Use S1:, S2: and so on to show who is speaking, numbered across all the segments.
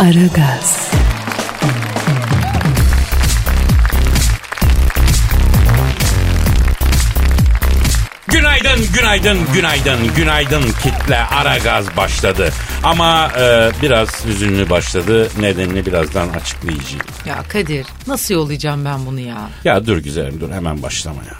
S1: Aragaz,
S2: Günaydın, günaydın, günaydın, günaydın kitle ara gaz başladı. Ama e, biraz hüzünlü başladı. Nedenini birazdan açıklayacağım.
S3: Ya Kadir nasıl yollayacağım ben bunu ya?
S2: Ya dur güzelim dur hemen başlama ya.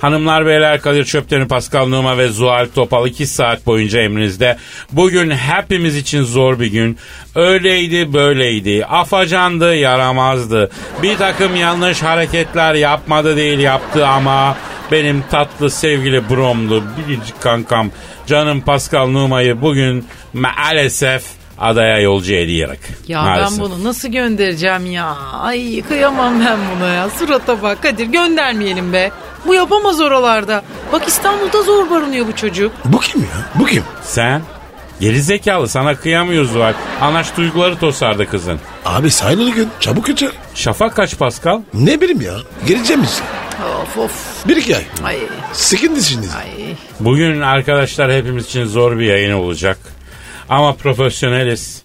S2: Hanımlar beyler Kadir Çöpten'in Pascal Numa ve Zuhal Topal 2 saat boyunca emrinizde. Bugün hepimiz için zor bir gün. Öyleydi böyleydi. Afacandı yaramazdı. Bir takım yanlış hareketler yapmadı değil yaptı ama benim tatlı sevgili bromlu biricik kankam canım Pascal Numa'yı bugün maalesef adaya yolcu ediyerek.
S3: Ya
S2: Maalesef.
S3: ben bunu nasıl göndereceğim ya? Ay kıyamam ben buna ya. Surata bak Kadir göndermeyelim be. Bu yapamaz oralarda. Bak İstanbul'da zor barınıyor bu çocuk.
S4: Bu kim ya? Bu kim?
S2: Sen? Geri zekalı sana kıyamıyoruz var. Anaç duyguları tosardı kızın.
S4: Abi sayılı gün. Çabuk geçer.
S2: Şafak kaç Pascal?
S4: Ne bileyim ya. Geleceğim işte.
S3: Of of.
S4: Bir iki ay.
S3: Ay
S4: Sekin dişiniz.
S3: ay.
S2: Bugün arkadaşlar hepimiz için zor bir yayın olacak. Ama profesyoneliz.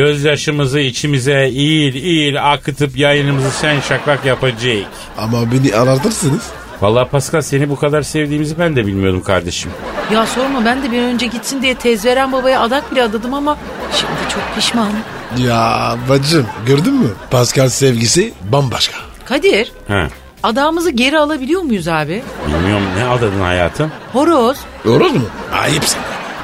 S2: Gözyaşımızı içimize iyi iyi akıtıp yayınımızı sen şakrak yapacak.
S4: Ama beni aratırsınız.
S2: Vallahi Pascal seni bu kadar sevdiğimizi ben de bilmiyordum kardeşim.
S3: Ya sorma ben de bir an önce gitsin diye tezveren babaya adak bile adadım ama şimdi çok pişmanım.
S4: Ya bacım gördün mü? Pascal sevgisi bambaşka.
S3: Kadir
S2: He.
S3: adağımızı geri alabiliyor muyuz abi?
S2: Bilmiyorum ne adadın hayatım?
S3: Horoz.
S4: Olur mu? Ayıpsın.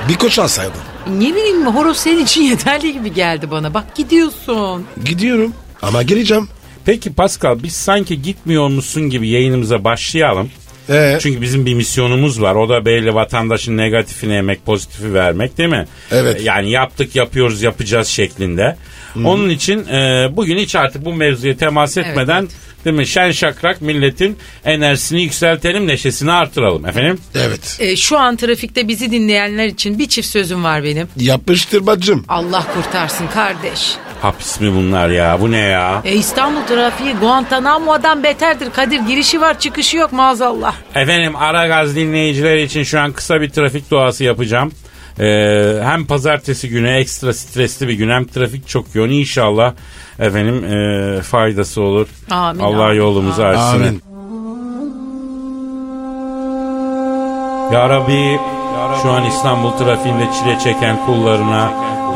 S4: Bir koç alsaydın.
S3: Ne bileyim horoz senin için yeterli gibi geldi bana. Bak gidiyorsun.
S4: Gidiyorum. Ama geleceğim.
S2: Peki Pascal biz sanki gitmiyormuşsun gibi yayınımıza başlayalım.
S4: Ee,
S2: Çünkü bizim bir misyonumuz var. O da belli vatandaşın negatifini emek, pozitifi vermek değil mi?
S4: Evet.
S2: E, Yani yaptık, yapıyoruz, yapacağız şeklinde. Onun için e, bugün hiç artık bu mevzuya temas etmeden değil mi? Şen şakrak milletin enerjisini yükseltelim, neşesini artıralım efendim.
S4: evet.
S3: Ee, şu an trafikte bizi dinleyenler için bir çift sözüm var benim.
S4: Yapıştır bacım.
S3: Allah kurtarsın kardeş.
S2: Hapis mi bunlar ya? Bu ne ya?
S3: E, İstanbul trafiği Guantanamo'dan beterdir Kadir. Girişi var çıkışı yok maazallah.
S2: Efendim Aragaz dinleyicileri için şu an kısa bir trafik doğası yapacağım. Ee, hem pazartesi günü ekstra stresli bir gün hem trafik çok yoğun inşallah efendim e, faydası olur.
S3: Amin,
S2: Allah
S3: amin,
S2: yolumuzu
S3: amin.
S2: açsın.
S4: Amin.
S2: Ya Rabbi şu an İstanbul trafiğinde çile çeken kullarına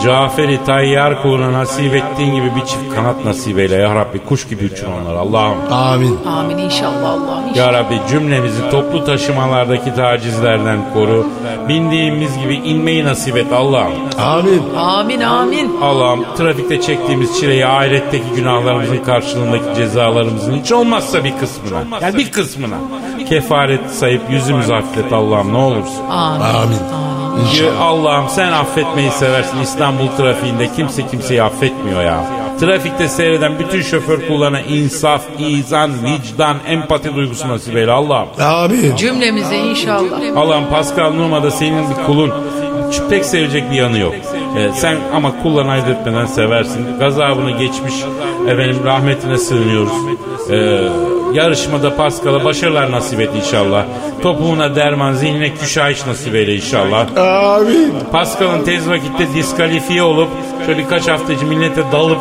S2: Caferi Tayyar kuluna nasip ettiğin gibi bir çift kanat nasip eyle ya Rabbi kuş gibi uçun onlara Allah'ım.
S4: Amin.
S3: Amin inşallah Allah'ım. inşallah.
S2: Ya Rabbi cümlemizi toplu taşımalardaki tacizlerden koru. Bindiğimiz gibi inmeyi nasip et Allah'ım.
S4: Amin.
S3: Amin amin.
S2: Allah'ım trafikte çektiğimiz çileyi ahiretteki günahlarımızın karşılığındaki cezalarımızın hiç olmazsa bir kısmına. Yani bir kısmına. Kefaret sayıp yüzümüzü affet Allah'ım ne olursun.
S3: Amin.
S4: Amin.
S2: Ya Allah'ım sen affetmeyi seversin. İstanbul trafiğinde kimse kimseyi affetmiyor ya. Trafikte seyreden bütün şoför kullarına insaf, izan, vicdan, empati duygusu nasip eyle Allah'ım.
S4: Amin.
S3: Cümlemize inşallah.
S2: Allah'ım Pascal Numa da senin bir kulun. Hiç Pek sevecek bir yanı yok. Ee, sen ama kullan aydırtmadan seversin. Gazabını geçmiş. Efendim rahmetine sığınıyoruz. Ee, yarışmada Pascal'a başarılar nasip et inşallah. Topuğuna derman, zihnine küşayiş nasip eyle inşallah.
S4: Amin.
S2: Pascal'ın tez vakitte diskalifiye olup şöyle birkaç hafta için millete dalıp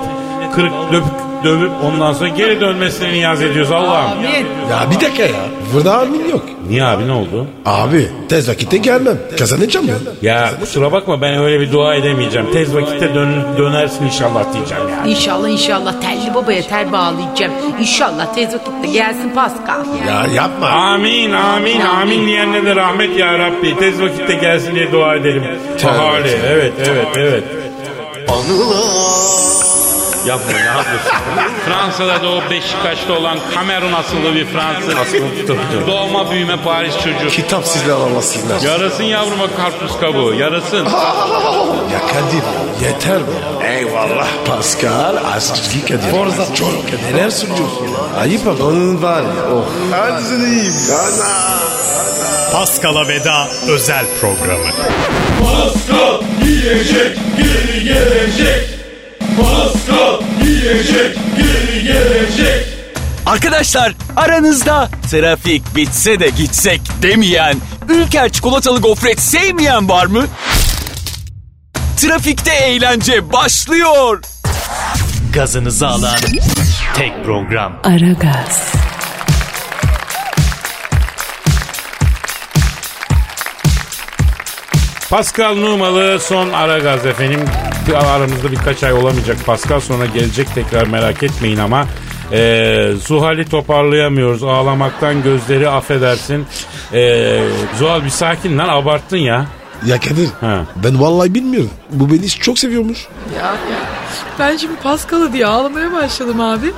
S2: kırık döpük dövüp ondan sonra geri dönmesini niyaz ediyoruz Allah'ım.
S3: Amin.
S4: Ya bir dakika ya. Burada amin yok.
S2: Niye abi ne oldu?
S4: Abi tez vakitte gelmem. Kazanacağım ya.
S2: Ya kusura bakma ben öyle bir dua edemeyeceğim. Tez vakitte dön- dönersin inşallah diyeceğim yani.
S3: İnşallah inşallah telli babaya tel bağlayacağım. İnşallah tez vakitte gelsin Pascal.
S4: Ya yapma.
S2: Amin amin amin diyenlere de rahmet ya Rabbi. Tez vakitte gelsin diye dua edelim. Bahari evet evet evet.
S5: Anılar
S2: Yapma ne yapıyorsun? Fransa'da doğup Beşiktaş'ta olan Kamerun asıllı bir Fransız. Doğma büyüme Paris çocuğu.
S4: Kitap sizle alamazsınlar. Ya,
S2: Yarasın yavruma karpuz kabuğu yarasın.
S4: Kadir yeter mi? Eyvallah. Pascal Askizgi Kadir. Forza çok. Neler sunuyorsun? ya? Ayıp ama. Onun var ya. Oh.
S5: Paskal'a veda özel programı.
S6: Pascal yiyecek geri gelecek. Pascal yiyecek geri gelecek.
S7: Arkadaşlar aranızda trafik bitse de gitsek demeyen, Ülker çikolatalı gofret sevmeyen var mı? Trafikte eğlence başlıyor.
S5: Gazınızı alan tek program.
S1: Aragaz,
S2: Pascal Numalı son ara gaz efendim. Aramızda birkaç ay olamayacak Pascal sonra gelecek tekrar merak etmeyin ama e, Zuhal'i toparlayamıyoruz. Ağlamaktan gözleri affedersin. E, Zuhal bir sakin lan abarttın ya.
S4: Ya Kadir
S2: Ha.
S4: ben vallahi bilmiyorum. Bu beni çok seviyormuş.
S3: Ya, ya. Ben şimdi Paskal'ı diye ağlamaya başladım abi.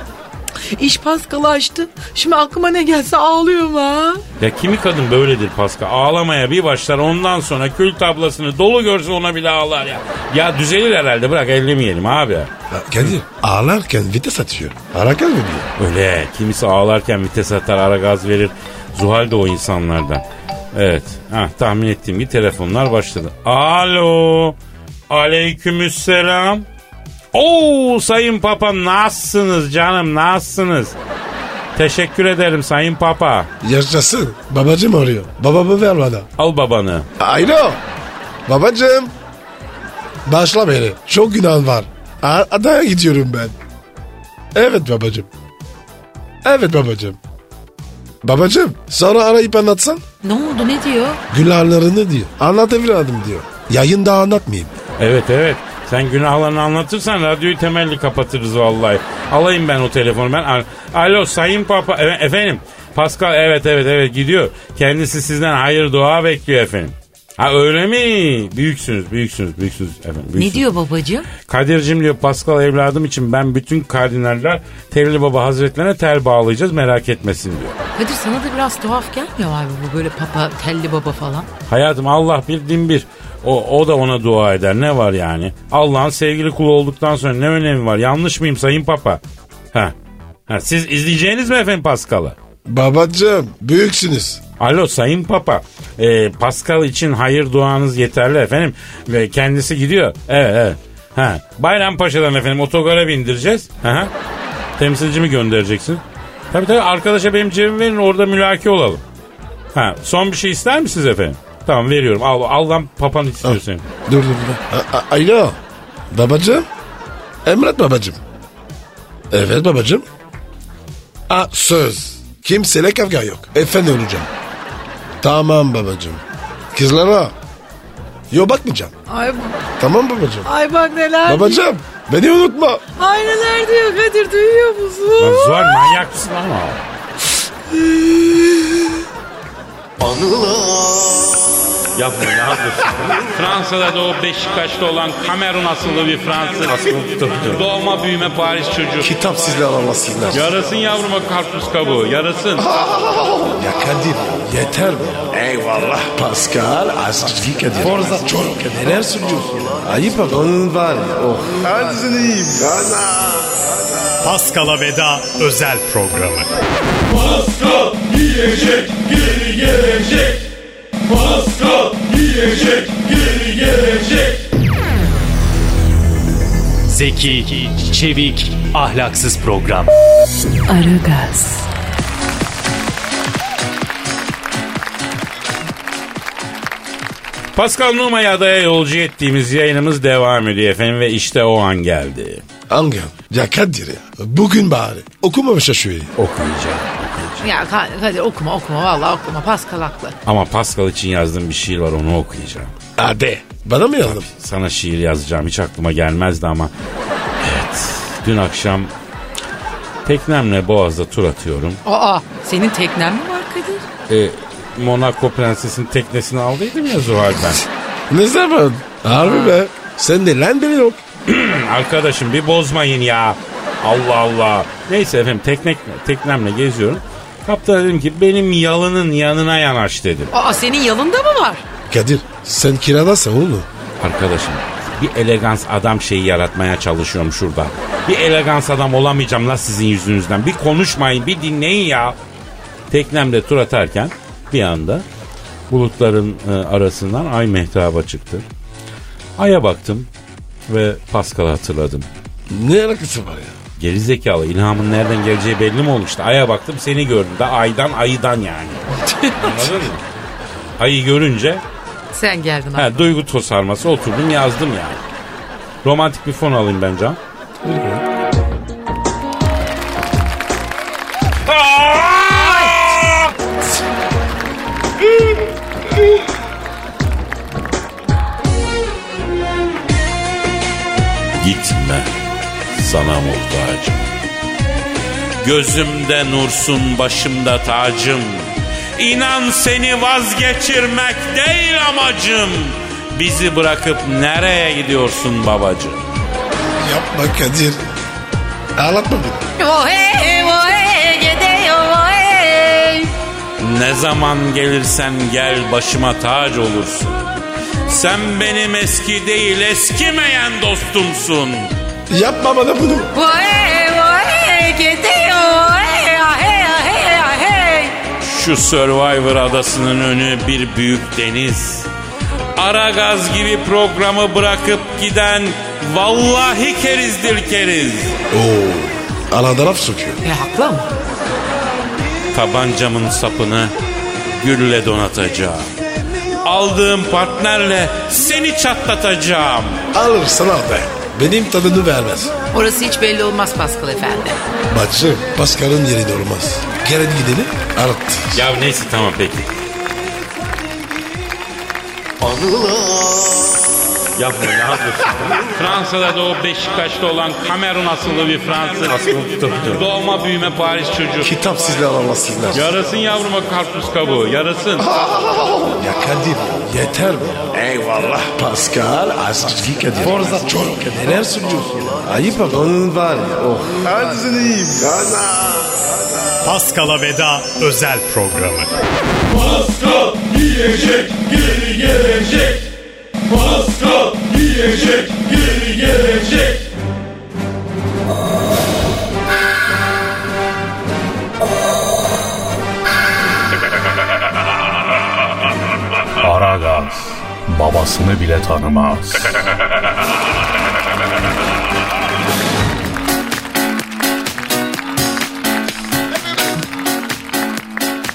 S3: İş Paskal'ı açtı. Şimdi aklıma ne gelse ağlıyorum ha.
S2: Ya kimi kadın böyledir Pascal. Ağlamaya bir başlar ondan sonra kül tablasını dolu görse ona bile ağlar ya. Ya düzelir herhalde bırak ellemeyelim abi.
S4: Ya Kadir ağlarken vites atıyor. Arakan mı diyor?
S2: Öyle kimisi ağlarken vites atar ara gaz verir. Zuhal de o insanlardan. Evet ha, tahmin ettiğim gibi telefonlar başladı. Alo aleykümselam. Oo sayın papa nasılsınız canım nasılsınız? Teşekkür ederim sayın papa.
S4: Yaşasın. Babacım arıyor. Babamı ver bana.
S2: Al babanı.
S4: Alo. Babacım. Başla beni. Çok günah var. A- Adaya gidiyorum ben. Evet babacım. Evet babacım. Babacım sonra arayıp anlatsan.
S3: Ne oldu ne diyor?
S4: Günahlarını diyor. Anlat evladım diyor. Yayında anlatmayayım.
S2: Evet evet. Sen günahlarını anlatırsan radyoyu temelli kapatırız vallahi. Alayım ben o telefonu ben. al- Alo Sayın Papa e- efendim. Pascal evet evet evet gidiyor. Kendisi sizden hayır dua bekliyor efendim. Ha öyle mi? Büyüksünüz, büyüksünüz, büyüksünüz efendim. büyüksünüz.
S3: babacığım?
S2: Kadir'cim diyor Pascal evladım için ben bütün kardinaller Tevli Baba Hazretlerine tel bağlayacağız merak etmesin diyor.
S3: Kadir sana da biraz tuhaf gelmiyor abi bu böyle papa, telli baba falan.
S2: Hayatım Allah bir din bir. O, o da ona dua eder. Ne var yani? Allah'ın sevgili kulu olduktan sonra ne önemi var? Yanlış mıyım Sayın Papa? Ha. ha siz izleyeceğiniz mi efendim Paskal'ı?
S4: Babacım büyüksünüz.
S2: Alo Sayın Papa. Ee, Pascal için hayır duanız yeterli efendim. Ve kendisi gidiyor. Evet evet. Ha. Bayrampaşa'dan efendim otogara bindireceğiz. Aha. Temsilcimi göndereceksin. Tabii tabii arkadaşa benim cebimi verin orada mülaki olalım. Ha, son bir şey ister misiniz efendim? Tamam veriyorum. Al, al lan papan istiyor senin.
S4: Dur dur dur. A- a- Alo. Babacım. Emret babacım. Evet babacım. A söz. Kimseyle kavga yok. Efendi olacağım. Tamam babacım. Kızlara. Yo bakmayacağım.
S3: Ay,
S4: Tamam babacım.
S3: ay bak neler.
S4: Babacım beni unutma.
S3: Ay neler diyor Kadir duyuyor
S2: Lan
S3: musun?
S2: Zuhal manyak mısın lan o? Yapma ne yapıyorsun? Fransa'da doğup Beşiktaş'ta olan Kamerun asıllı bir Fransız. Doğma büyüme Paris çocuğu.
S4: Kitap sizle alamazsınlar. Ya,
S2: Yarasın yavruma karpuz kabuğu yarasın.
S4: ya Kadir yeter mi? Eyvallah. Pascal Askizgi Kadir. Forza çok. Neler sunuyorsun? ya? Ayıp ama. Onun var ya. Oh.
S5: Paskal'a veda özel programı.
S6: Pascal yiyecek geri gelecek. Pascal yiyecek geri gelecek.
S5: Zeki, çevik, ahlaksız program.
S1: Aragaz,
S2: Pascal Numa'yı adaya yolcu ettiğimiz yayınımız devam ediyor efendim ve işte o an geldi.
S4: Angel. Ya Kadir ya. Bugün bari. Okumamış aşureyi.
S2: Okuyacağım.
S3: Ya Ka- Kadir okuma okuma vallahi okuma Paskal haklı.
S2: Ama Pascal için yazdığım bir şiir var onu okuyacağım.
S4: Hadi. Bana mı yazdın?
S2: Sana şiir yazacağım hiç aklıma gelmezdi ama evet dün akşam teknemle Boğaz'da tur atıyorum.
S3: Aa senin teknen mi var Kadir?
S2: E, Monaco prensesinin teknesini aldıydım ya Zuhal ben.
S4: Ne zaman? Harbi be. Sen de lan beni yok.
S2: arkadaşım bir bozmayın ya. Allah Allah. Neyse efendim tekne, teknemle geziyorum. Kaptana dedim ki benim yalının yanına yanaş dedim.
S3: Aa senin yanında mı var?
S4: Kadir sen kiradasın oğlum.
S2: Arkadaşım bir elegans adam şeyi yaratmaya çalışıyorum şurada. Bir elegans adam olamayacağım la sizin yüzünüzden. Bir konuşmayın bir dinleyin ya. Teknemde tur atarken bir anda bulutların e, arasından ay mehtaba çıktı. Aya baktım ve Pascal'ı hatırladım.
S4: Ne alakası var ya?
S2: Gerizekalı ilhamın nereden geleceği belli mi olmuş? Aya baktım seni gördüm. Da aydan ayıdan yani. Anladın mı? Ayı görünce
S3: Sen geldin abi.
S2: Ha, duygu tosarması oturdum yazdım yani. Romantik bir fon alayım ben Can. Gitme sana muhtacım. Gözümde nursun başımda tacım. İnan seni vazgeçirmek değil amacım. Bizi bırakıp nereye gidiyorsun babacığım?
S4: Yapma Kadir. Ağlatma beni.
S3: Ohe, ohe, gede, ohe.
S2: Ne zaman gelirsen gel başıma tac olursun. Sen benim eski değil eskimeyen dostumsun.
S4: Yapma bana bunu.
S3: Ohe, ohe, gede, ohe, ahe, ahe, ahe.
S2: Şu Survivor adasının önü bir büyük deniz. Ara gaz gibi programı bırakıp giden vallahi kerizdir keriz.
S4: Oo. Alanda laf sokuyor.
S3: E haklı ama.
S2: Tabancamın sapını gülle donatacağım. Aldığım partnerle seni çatlatacağım.
S4: Alır sana be. Benim tadını vermez.
S3: Orası hiç belli olmaz Pascal efendi.
S4: Bacım Pascal'ın yerinde olmaz. Gelin gidelim. Arat.
S2: Ya neyse tamam peki. Yapma ne yapıyorsun? Fransa'da doğup Beşiktaş'ta olan Kamerun asıllı bir Fransız. Doğma büyüme Paris çocuğu.
S4: Kitap sizle alamaz sizler. Ya,
S2: Yarasın yavruma karpuz kabuğu yarasın.
S4: Kadir yeter mi? Eyvallah. Pascal Askizgi Kadir. Forza Çoruk. Neler sunuyorsun? Ayıp ama. Onun var ya. Oh. Hadi sen iyiyim.
S5: Pascal'a veda özel programı.
S6: Pascal yiyecek geri gelecek. Pascal yiyecek geri gelecek.
S8: Aragaz babasını bile tanımaz.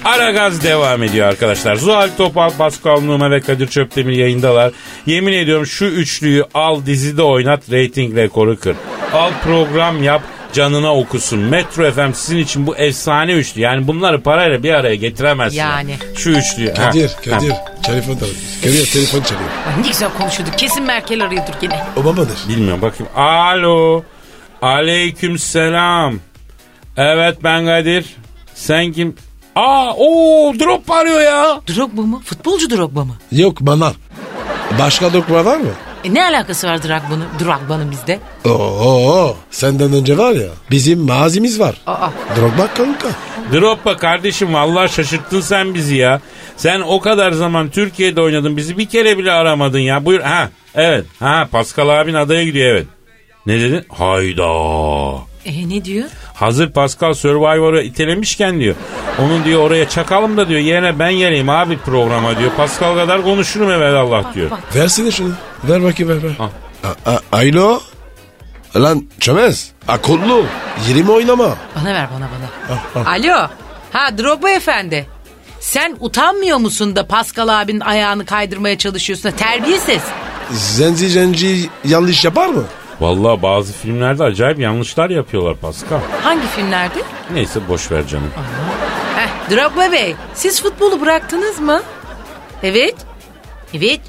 S2: Ara gaz devam ediyor arkadaşlar. Zuhal Topal, Pascal Numa ve Kadir Çöptemir yayındalar. Yemin ediyorum şu üçlüyü al dizide oynat, reyting rekoru kır. Al program yap, canına okusun. Metro FM sizin için bu efsane üçlü. Yani bunları parayla bir araya getiremezsin.
S3: Yani.
S2: Şu üçlüyü. Ha,
S4: Kadir,
S2: ha.
S4: Kadir. Telefon da Kadir telefon çalıyor.
S3: Ay, Ne güzel konuşuyorduk. Kesin Merkel arıyordur gene.
S4: O babadır.
S2: Bilmiyorum bakayım. Alo. Aleyküm selam. Evet ben Kadir. Sen kim? Aa o drop arıyor ya.
S3: Drogba mı? Futbolcu Drogba mı?
S4: Yok bana. Başka dokuma var mı?
S3: E ne alakası var Drogba'nın Drogba'nın bizde?
S4: Oo, oo, senden önce var ya bizim mazimiz var.
S3: Aa.
S4: Drogba kanka.
S2: Droppa kardeşim vallahi şaşırttın sen bizi ya. Sen o kadar zaman Türkiye'de oynadın bizi bir kere bile aramadın ya. Buyur ha evet ha Pascal abin adaya gidiyor evet. Ne dedin? Hayda.
S3: E ne diyor?
S2: Hazır Pascal Survivor'u itelemişken diyor. Onun diyor oraya çakalım da diyor yerine ben geleyim abi programa diyor. Pascal kadar konuşurum evelallah diyor.
S4: Versene şunu. Ver bakayım ver ver. A- a- Alo. Lan çömez. Akıllı. Yerimi oynama.
S3: Bana ver bana bana. Alo. Ha Drogba efendi. Sen utanmıyor musun da Pascal abinin ayağını kaydırmaya çalışıyorsun? da? Terbiyesiz.
S4: Zenci zenci yanlış yapar mı?
S2: Vallahi bazı filmlerde acayip yanlışlar yapıyorlar Pascal.
S3: Hangi filmlerde?
S2: Neyse boş ver canım.
S3: Heh, Drogba Bey, siz futbolu bıraktınız mı? Evet. Evet.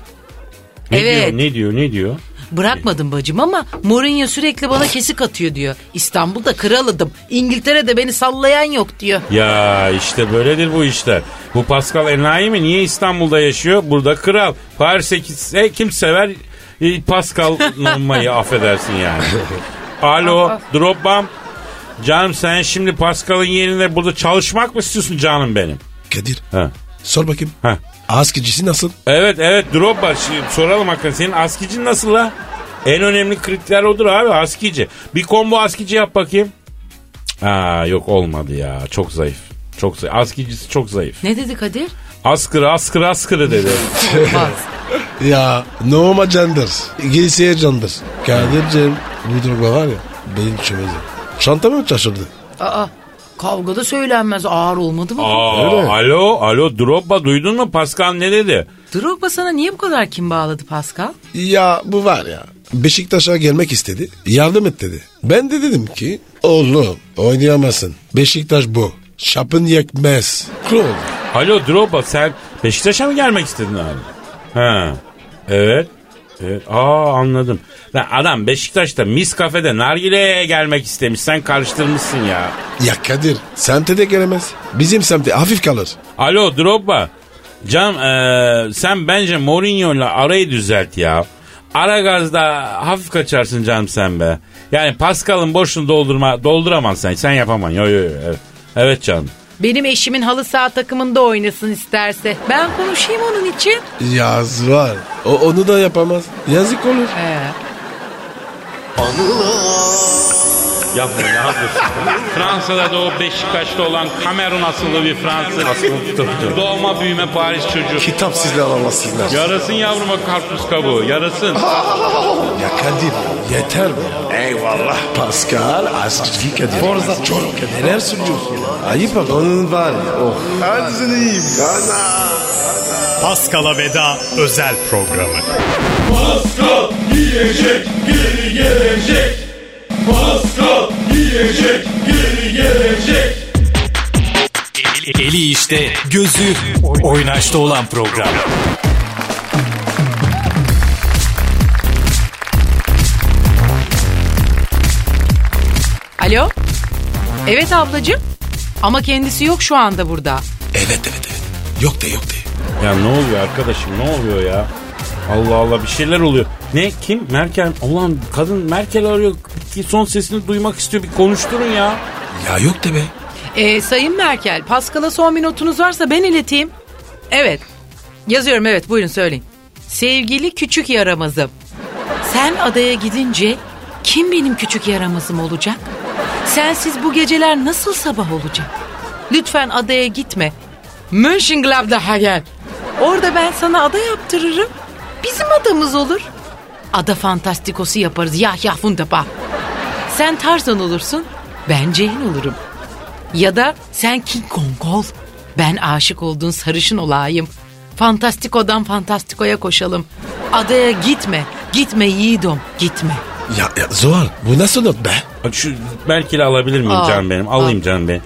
S2: Ne
S3: evet.
S2: diyor ne diyor ne diyor?
S3: Bırakmadım bacım ama Mourinho sürekli bana kesik atıyor diyor. İstanbul'da kralıdım. İngiltere'de beni sallayan yok diyor.
S2: Ya işte böyledir bu işler. Bu Pascal Enayi mi? Niye İstanbul'da yaşıyor? Burada kral. Paris'e gitse kim sever? e, Pascal numarayı affedersin yani. Alo Dropbam. Canım sen şimdi Pascal'ın yerinde burada çalışmak mı istiyorsun canım benim?
S4: Kadir
S2: Ha.
S4: sor bakayım.
S2: Ha.
S4: Askıcısı nasıl?
S2: Evet evet Drogba Şimdi soralım hakikaten senin askici nasıl la? En önemli kriter odur abi askici. Bir combo askici yap bakayım. Cık, Aa yok olmadı ya çok zayıf. Çok zayıf. Askicisi çok zayıf.
S3: Ne dedi Kadir?
S2: Askırı askırı askırı dedi.
S3: Olmaz.
S4: Ya Noma Candır. Gelisiye Candır. Kadir'cim bu durumda var ya benim çömezim. Çantamı mı şaşırdı?
S3: Aa, kavgada söylenmez ağır olmadı mı? bu?
S2: Aa,
S4: Öyle.
S2: alo alo Drogba duydun mu Pascal ne dedi?
S3: Drogba sana niye bu kadar kim bağladı Pascal?
S4: Ya bu var ya. Beşiktaş'a gelmek istedi. Yardım et dedi. Ben de dedim ki oğlum oynayamazsın. Beşiktaş bu. Şapın yekmez. Kul oldu.
S2: Alo Drogba sen Beşiktaş'a mı gelmek istedin abi? Ha. Evet. Evet. Aa anladım. Lan adam Beşiktaş'ta mis kafede nargileye gelmek istemiş. Sen karıştırmışsın ya.
S4: Ya Kadir semte de gelemez. Bizim semte hafif kalır.
S2: Alo Drogba. Can eee, sen bence Mourinho'yla arayı düzelt ya. Ara gazda hafif kaçarsın canım sen be. Yani Pascal'ın boşluğunu doldurma, dolduramam sen. Sen yapamam. Yo, yo, yo. Evet, evet canım.
S3: Benim eşimin halı saha takımında oynasın isterse. Ben konuşayım onun için.
S4: Yaz var. O, onu da yapamaz. Yazık olur.
S3: Ee,
S2: Yapma ne yapıyorsun? Fransa'da doğup Beşiktaş'ta olan Kamerun asıllı bir Fransız. Doğma büyüme Paris çocuğu.
S4: Kitap sizle alamazsınlar. Ya,
S2: Yarasın yavruma karpuz kabuğu, yarasın.
S4: ya Kadir yeter mi? Eyvallah. Pascal Askizgi Kadir. Forza Çoruk Kadir. Neler sunuyorsun? Ayıp bak onun var ya. Oh.
S5: Paskal'a veda özel programı.
S6: Pascal yiyecek geri gelecek. Pascal yiyecek geri gelecek.
S7: E, Eli işte, gözü oynaşta olan program.
S3: Alo? Evet ablacığım. Ama kendisi yok şu anda burada.
S4: Evet evet evet. Yok de yok de.
S2: Ya ne oluyor arkadaşım ne oluyor ya? Allah Allah bir şeyler oluyor. Ne kim? Merkel. Ulan kadın Merkel arıyor. Bir Son sesini duymak istiyor. Bir konuşturun ya.
S4: Ya yok de be.
S3: Ee, Sayın Merkel, Pascal'a son bir notunuz varsa ben ileteyim. Evet. Yazıyorum evet buyurun söyleyin. Sevgili küçük yaramazım. Sen adaya gidince kim benim küçük yaramazım olacak? Sensiz bu geceler nasıl sabah olacak? Lütfen adaya gitme. Mönchengladbach'a gel. Orada ben sana ada yaptırırım. Bizim adamız olur. Ada fantastikosu yaparız. Yahya Fundapa. Sen Tarzan olursun. Ben Jane olurum. Ya da sen King Kong ol. Ben aşık olduğun sarışın olayım. Fantastiko'dan Fantastiko'ya koşalım. Adaya gitme. Gitme yiğidom. Gitme.
S4: Ya, ya Zuhal bu nasıl not be?
S2: Bak Şu Merkel'i alabilir miyim
S3: Al.
S2: canım benim? Alayım canım benim.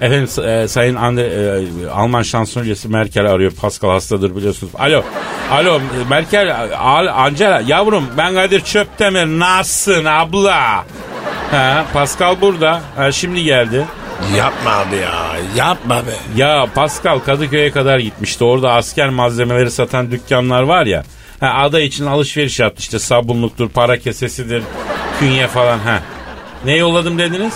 S2: Efendim s- e, Sayın Andre, e, Alman şansölyesi Merkel arıyor. Pascal hastadır biliyorsunuz. Alo. Alo e, Merkel, al, Angela yavrum ben Kadir Çöptemir. Nasılsın abla? Ha, Pascal burada. Ha, şimdi geldi.
S4: Yapma abi ya. Yapma be.
S2: Ya Pascal Kadıköy'e kadar gitmişti. Orada asker malzemeleri satan dükkanlar var ya. Ha, ada için alışveriş yaptı işte sabunluktur, para kesesidir, künye falan ha. Ne yolladım dediniz?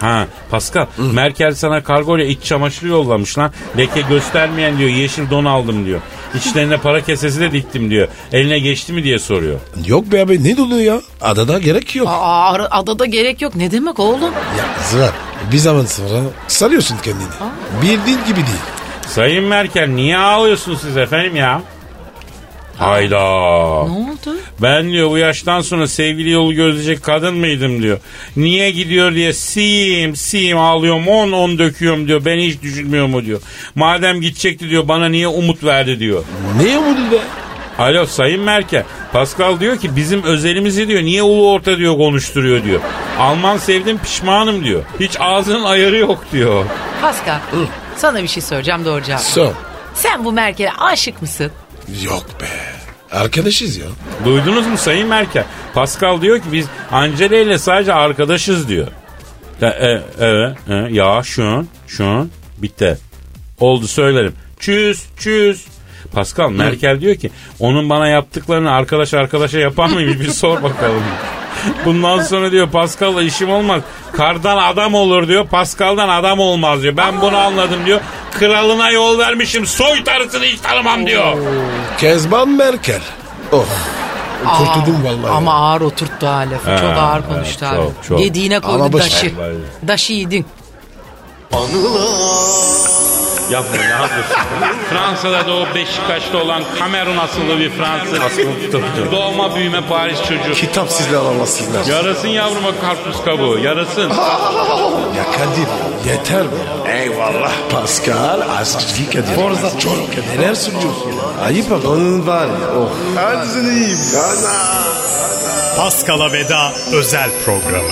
S2: Ha Pascal Merkel sana kargoyla iç çamaşırı yollamış lan. Leke göstermeyen diyor yeşil don aldım diyor. İçlerine para kesesi de diktim diyor. Eline geçti mi diye soruyor.
S4: Yok be abi ne doluyor ya? Adada gerek yok.
S3: Aa, ara- adada gerek yok. Ne demek oğlum?
S4: Ya Zuhal bir zaman sonra sarıyorsun kendini. Bildiğin gibi değil.
S2: Sayın Merkel niye ağlıyorsunuz siz efendim ya? Hayda.
S3: Ne oldu?
S2: Ben diyor bu yaştan sonra sevgili yolu gözleyecek kadın mıydım diyor. Niye gidiyor diye siyim siyim ağlıyorum on on döküyorum diyor. Beni hiç düşünmüyor mu diyor. Madem gidecekti diyor bana niye umut verdi diyor.
S4: Ne umudu be?
S2: Alo Sayın Merkel. Pascal diyor ki bizim özelimizi diyor niye ulu orta diyor konuşturuyor diyor. Alman sevdim pişmanım diyor. Hiç ağzının ayarı yok diyor.
S3: Pascal. Sana bir şey soracağım doğru cevap.
S4: Son.
S3: Sen bu Merkel'e aşık mısın?
S4: Yok be. Arkadaşız ya.
S2: Duydunuz mu Sayın Merkel? Pascal diyor ki biz Angela ile sadece arkadaşız diyor. Ya, e, evet, e, ya şu an, şu an bitti. Oldu söylerim. Çüz, çüz. Pascal Merkel diyor ki onun bana yaptıklarını arkadaş arkadaşa yapar mıymış bir sor bakalım. Bundan sonra diyor Pascal'la işim olmaz. Kardan adam olur diyor. Pascal'dan adam olmaz diyor. Ben bunu anladım diyor. Kralına yol vermişim. Soy tarısını hiç tanımam diyor.
S4: Kezban Merkel. Oh. Kurtuldum vallahi.
S3: Ama ağır oturttu ha lafı. çok
S2: Ha,
S3: ağır
S2: evet,
S3: konuştu abi.
S2: çok, çok.
S3: Yediğine koydu
S4: Alabaşı.
S3: daşı. Daşı yedin.
S2: Yapma ne yapıyorsun? Fransa'da doğup Beşiktaş'ta olan Kamerun asıllı bir Fransız. Doğma büyüme Paris çocuğu.
S4: Kitap sizle alamazsınlar. Ya,
S2: Yarasın yavruma karpuz kabuğu. Yarasın.
S4: Kadir yeter mi? Eyvallah. Pascal Askizgi Kadir. Forza Çoruk. Neler sunuyorsun? Ayıp bak. Onun var ya. Oh. Hadi seni
S5: Paskal'a veda özel programı.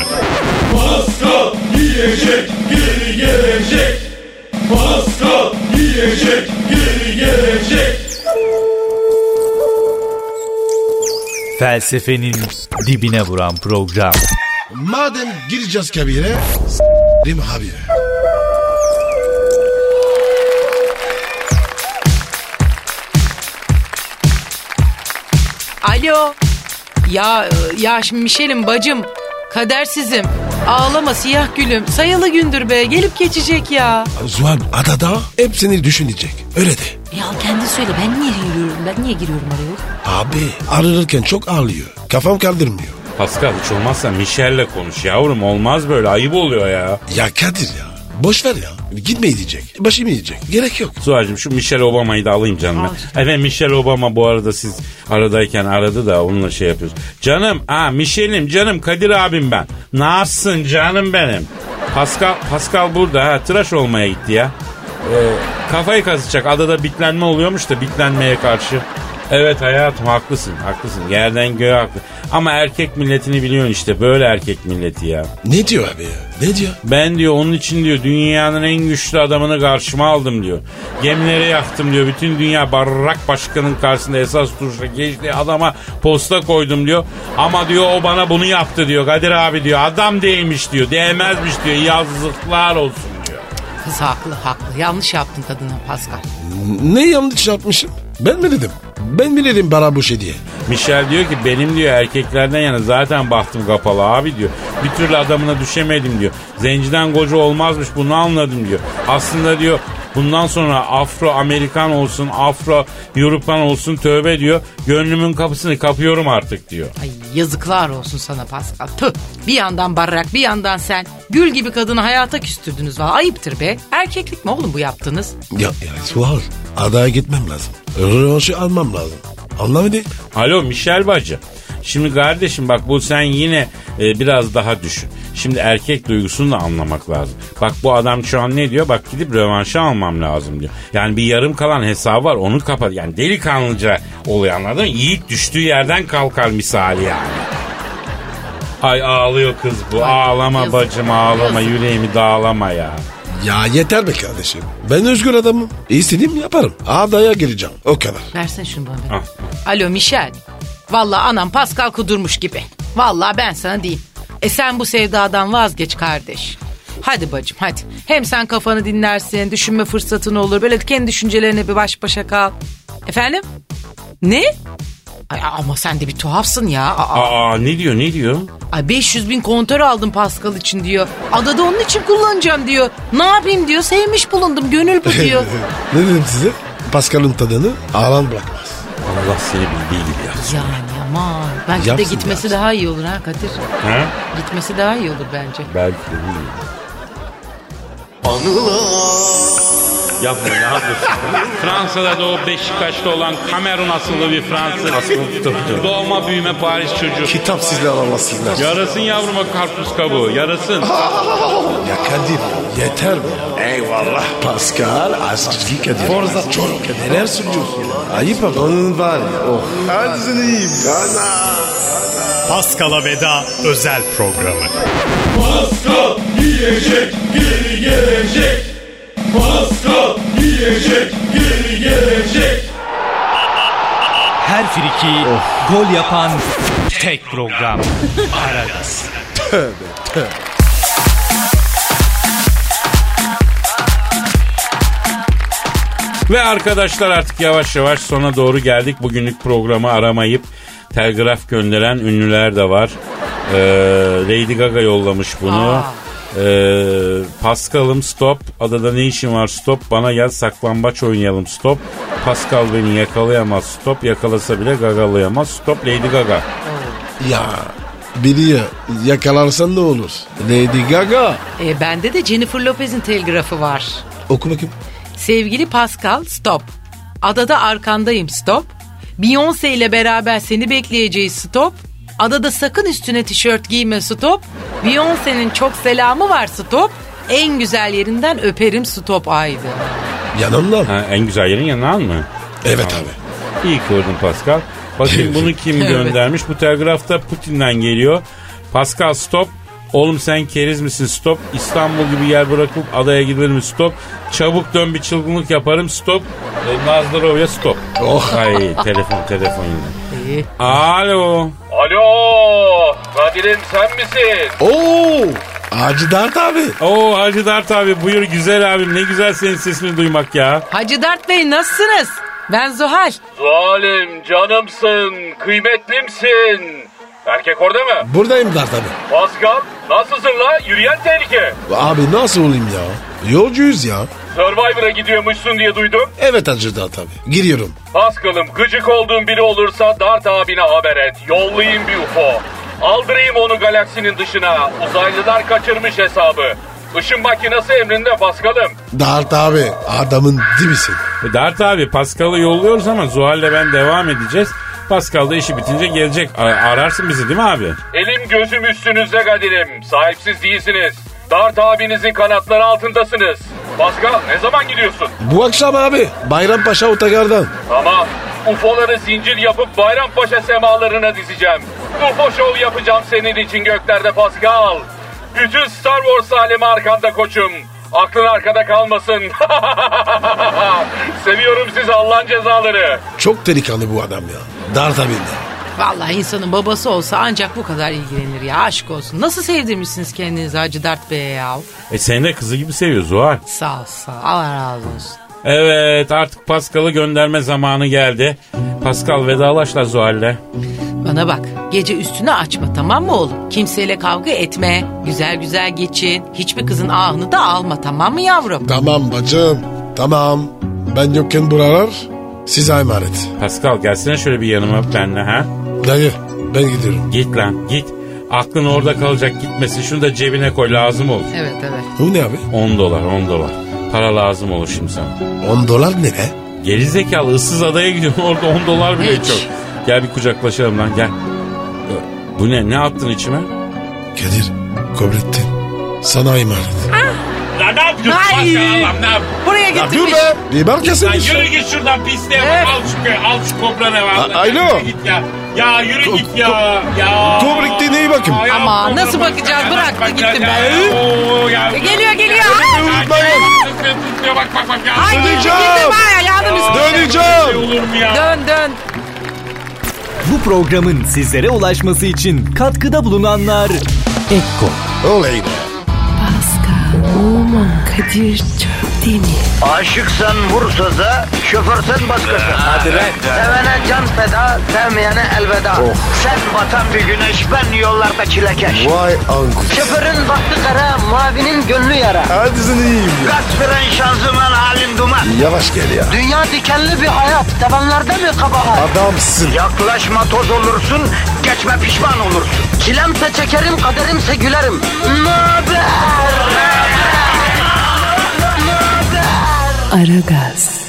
S6: Pascal yiyecek geri gelecek. Pascal yiyecek geri gelecek.
S7: Felsefenin dibine vuran program.
S4: Madem gireceğiz kabire. S***im habire.
S3: Alo. Ya e, ya şimdi Mişelim bacım. Kadersizim. Ağlama siyah gülüm. Sayılı gündür be. Gelip geçecek ya.
S4: Zuhal adada hepsini düşünecek. Öyle de.
S3: Ya kendi söyle ben niye giriyorum? Ben niye giriyorum araya?
S4: Abi aranırken çok ağlıyor. Kafam kaldırmıyor.
S2: Pascal hiç olmazsa Michelle'le konuş yavrum. Olmaz böyle ayıp oluyor ya.
S4: Ya Kadir ya. Boş ver ya. Gitmeyi diyecek. Başımı yiyecek. Gerek yok.
S2: Suacım şu Michelle Obama'yı da alayım canım. ben. Efendim Michelle Obama bu arada siz aradayken aradı da onunla şey yapıyoruz. Canım ha Michelle'im canım Kadir abim ben. Ne yapsın canım benim. Pascal, Pascal burada ha tıraş olmaya gitti ya. Ee, kafayı kazıtacak adada bitlenme oluyormuş da bitlenmeye karşı. Evet hayatım haklısın haklısın yerden göğe haklı. Ama erkek milletini biliyorsun işte böyle erkek milleti ya.
S4: Ne diyor abi ya? Ne diyor?
S2: Ben diyor onun için diyor dünyanın en güçlü adamını karşıma aldım diyor. Gemileri yaktım diyor. Bütün dünya barrak başkanın karşısında esas duruşa geçti. Adama posta koydum diyor. Ama diyor o bana bunu yaptı diyor. Kadir abi diyor adam değilmiş diyor. Değmezmiş diyor. Yazıklar olsun diyor.
S3: Kız haklı haklı. Yanlış yaptın kadına Pascal.
S4: Ne yanlış yapmışım? Ben mi dedim? Ben mi dedim bana bu şey diye?
S2: Michel diyor ki benim diyor erkeklerden yana zaten bahtım kapalı abi diyor. Bir türlü adamına düşemedim diyor. Zenciden koca olmazmış bunu anladım diyor. Aslında diyor bundan sonra Afro Amerikan olsun Afro Avrupan olsun tövbe diyor. Gönlümün kapısını kapıyorum artık diyor.
S3: Ay yazıklar olsun sana Pascal. Tüh. Bir yandan barrak bir yandan sen. Gül gibi kadını hayata küstürdünüz valla. Ayıptır be. Erkeklik mi oğlum bu yaptığınız?
S4: Ya, ya Suhal adaya gitmem lazım. Rövanşı almam lazım. Anlamadı?
S2: Alo Michel bacı. Şimdi kardeşim bak bu sen yine e, biraz daha düşün. Şimdi erkek duygusunu da anlamak lazım. Bak bu adam şu an ne diyor? Bak gidip rövanşı almam lazım diyor. Yani bir yarım kalan hesabı var onu kapat. Yani delikanlıca oluyor anladın mı? Yiğit düştüğü yerden kalkar misali yani. Ay ağlıyor kız bu. Ağlama
S3: yazık.
S2: bacım ağlama
S3: Yazık.
S2: yüreğimi dağlama ya.
S4: Ya yeter be kardeşim. Ben özgür adamım. İstediğimi yaparım. Adaya gireceğim. O kadar.
S3: Versene şunu bana. bir.
S2: Ah.
S3: Alo Michel. Valla anam Pascal kudurmuş gibi. Valla ben sana diyeyim. E sen bu sevdadan vazgeç kardeş. Hadi bacım hadi. Hem sen kafanı dinlersin, düşünme fırsatın olur. Böyle kendi düşüncelerine bir baş başa kal. Efendim? Ne? Ay, ama sen de bir tuhafsın ya. Aa,
S2: Aa ne diyor ne diyor?
S3: ay 500 bin kontör aldım Pascal için diyor. Adada onun için kullanacağım diyor. Ne yapayım diyor. Sevmiş bulundum. Gönül bu diyor.
S4: Ee, ne dedim size? Pascal'ın tadını ağlan bırakmaz.
S2: Allah seni bildiği gibi yapsın.
S3: yani aman. Belki de
S4: Yapsın,
S3: gitmesi
S4: yapsın.
S3: daha iyi olur ha Kadir.
S2: Ha?
S3: Gitmesi daha iyi olur bence.
S2: Belki de bilmiyorum. Yapma ne yapıyorsun? Fransa'da doğup Beşiktaş'ta olan Kamerun asıllı bir Fransız. Doğma büyüme Paris çocuğu.
S4: Kitap sizle alamazsınlar. Ya,
S2: Yarasın yavruma karpuz kabuğu. Yarasın.
S4: ya Kadir yeter mi? Eyvallah. Pascal Askizgi Kadir. Forza Çoruk. Neler sunuyorsun? Ayıp bak. Onun var ya. Oh. Hadi seni
S5: Paskal'a veda özel programı.
S6: Pascal yiyecek geri gelecek. Pascal yiyecek geri gelecek.
S7: Her friki gol yapan tek program. Aragaz.
S2: Ve arkadaşlar artık yavaş yavaş sona doğru geldik. Bugünlük programı aramayıp telgraf gönderen ünlüler de var. Ee, Lady Gaga yollamış bunu. Ee, Pascal'ım stop. Adada ne işin var stop. Bana gel saklambaç oynayalım stop. Pascal beni yakalayamaz stop. Yakalasa bile gagalayamaz stop. Lady Gaga.
S4: Ya biri ya- yakalarsan ne olur? Lady Gaga.
S3: E, bende de Jennifer Lopez'in telgrafı var.
S4: Oku bakayım.
S3: Sevgili Pascal stop. Adada arkandayım stop. Beyoncé ile beraber seni bekleyeceğiz stop. Adada sakın üstüne tişört giyme stop. Beyoncé'nin çok selamı var stop. En güzel yerinden öperim stop aydı.
S4: Yanımda mı?
S2: Ha, en güzel yerin yanağın mı?
S4: Evet abi.
S2: İyi kurdun Pascal. Bakayım bunu kim göndermiş? Bu telgrafta Putin'den geliyor. Pascal stop. Oğlum sen keriz misin stop. İstanbul gibi yer bırakıp adaya gidilir mi stop. Çabuk dön bir çılgınlık yaparım stop. E, Nazlırova'ya stop.
S4: Oh.
S2: Ay telefon telefon yine. Alo.
S9: Alo Kadir'im sen misin?
S4: Oo. Hacı Dert abi.
S2: Oo Hacı Dert abi buyur güzel abim ne güzel senin sesini duymak ya.
S3: Hacı Dert Bey nasılsınız? Ben Zuhal.
S9: Zalim canımsın, kıymetlimsin. Erkek orada mı?
S4: Buradayım Dert abi.
S9: Pascal nasılsın la? Yürüyen tehlike.
S4: Abi nasıl olayım ya? Yolcuyuz ya.
S9: Survivor'a gidiyormuşsun diye duydum.
S4: Evet Hacı Dert abi. Giriyorum.
S9: Pascal'ım gıcık olduğun biri olursa Dart abine haber et. Yollayayım bir UFO. Aldırayım onu galaksinin dışına. Uzaylılar kaçırmış hesabı. Işın makinesi emrinde Pascal'ım.
S4: Dert abi adamın dibisin.
S2: E, Dert abi Pascal'ı yolluyoruz ama Zuhal'le ben devam edeceğiz. Pascal da işi bitince gelecek. A- Ararsın bizi değil mi abi?
S9: Elim gözüm üstünüzde Kadir'im. Sahipsiz değilsiniz. Dart abinizin kanatları altındasınız. Pascal ne zaman gidiyorsun?
S4: Bu akşam abi Bayrampaşa Otogar'dan.
S9: Ama UFO'ları zincir yapıp Bayrampaşa semalarına dizeceğim. UFO şov yapacağım senin için göklerde Pascal. Bütün Star Wars alemi arkanda koçum. Aklın arkada kalmasın. Seviyorum sizi Allah'ın cezaları.
S4: Çok delikanlı bu adam ya. Dert abi de.
S3: Vallahi insanın babası olsa ancak bu kadar ilgilenir ya aşk olsun. Nasıl sevdirmişsiniz kendinizi Hacı Dert Bey'e ya?
S2: E seni de kızı gibi seviyor Zuhal.
S3: Sağ ol sağ ol. Allah razı olsun.
S2: Evet artık Pascal'ı gönderme zamanı geldi. Pascal vedalaşla Zuhal'le.
S3: Bana bak gece üstünü açma tamam mı oğlum? Kimseyle kavga etme. Güzel güzel geçin. Hiçbir kızın ahını da alma tamam mı yavrum?
S4: Tamam bacım. Tamam. Ben yokken buralar size emanet.
S2: Pascal gelsene şöyle bir yanıma öp benle ha.
S4: Dayı ben gidiyorum.
S2: Git lan git. Aklın orada kalacak gitmesin. Şunu da cebine koy lazım olur.
S3: Evet evet.
S4: Bu ne abi?
S2: 10 dolar 10 dolar. Para lazım olur şimdi sana.
S4: 10 dolar ne be?
S2: Gerizekalı ıssız adaya gidiyorsun orada 10 dolar bile
S3: Hiç.
S2: çok. Gel bir kucaklaşalım lan gel. Ö, Bu ne ne attın içime?
S4: Kadir, Kobrettin sana emanet.
S2: Lan ne yapıyorsun
S3: Ay!
S2: Pascal adam ne yap-
S3: Buraya getirmiş.
S4: Biber
S2: Lan
S4: kesilmiş.
S2: yürü git şuradan pisliğe
S3: Evet.
S2: bak al şu, kö- al şu kobra ne var.
S4: A- Alo.
S2: Yürü git ya. Ya yürü
S4: Ko-
S2: git ya. ya.
S4: Kobrettin iyi bakın.
S2: Ya
S3: Ama
S2: kobra
S3: nasıl
S2: bak-
S3: bakacağız?
S2: ya,
S3: Bıraktı
S2: bak-
S3: gitti
S2: ya,
S3: be.
S2: ya. Oo, ya.
S3: E, Geliyor geliyor.
S4: Unutmayın.
S2: Tutmuyor, Bak bak bak ya.
S4: Döneceğim.
S3: Gittim ha yardım üstüne.
S4: Döneceğim.
S2: Olur mu ya?
S3: Dön dön.
S7: Bu programın sizlere ulaşması için katkıda bulunanlar
S4: Oley be.
S1: Pascal, Oman, Kadir çok değil mi?
S10: Aşıksan vursa da, şoförsen başkasın. Ee, Hadi lan. Oh. Sevene can feda, sevmeyene elveda. Sen batan bir güneş, ben yollarda çilekeş.
S4: Vay anku.
S10: Şoförün baktı kara, mavinin gönlü yara.
S4: Hadi sen iyiyim ya.
S10: Kasperen şanzıman halin duman.
S4: Yavaş gel ya.
S10: Dünya dikenli bir hayat, sevenlerde mi kabahar?
S4: Adamsın.
S10: Yaklaşma toz olursun, geçme pişman olursun. Çilemse çekerim, kaderimse gülerim. Möber!
S1: Aragaz.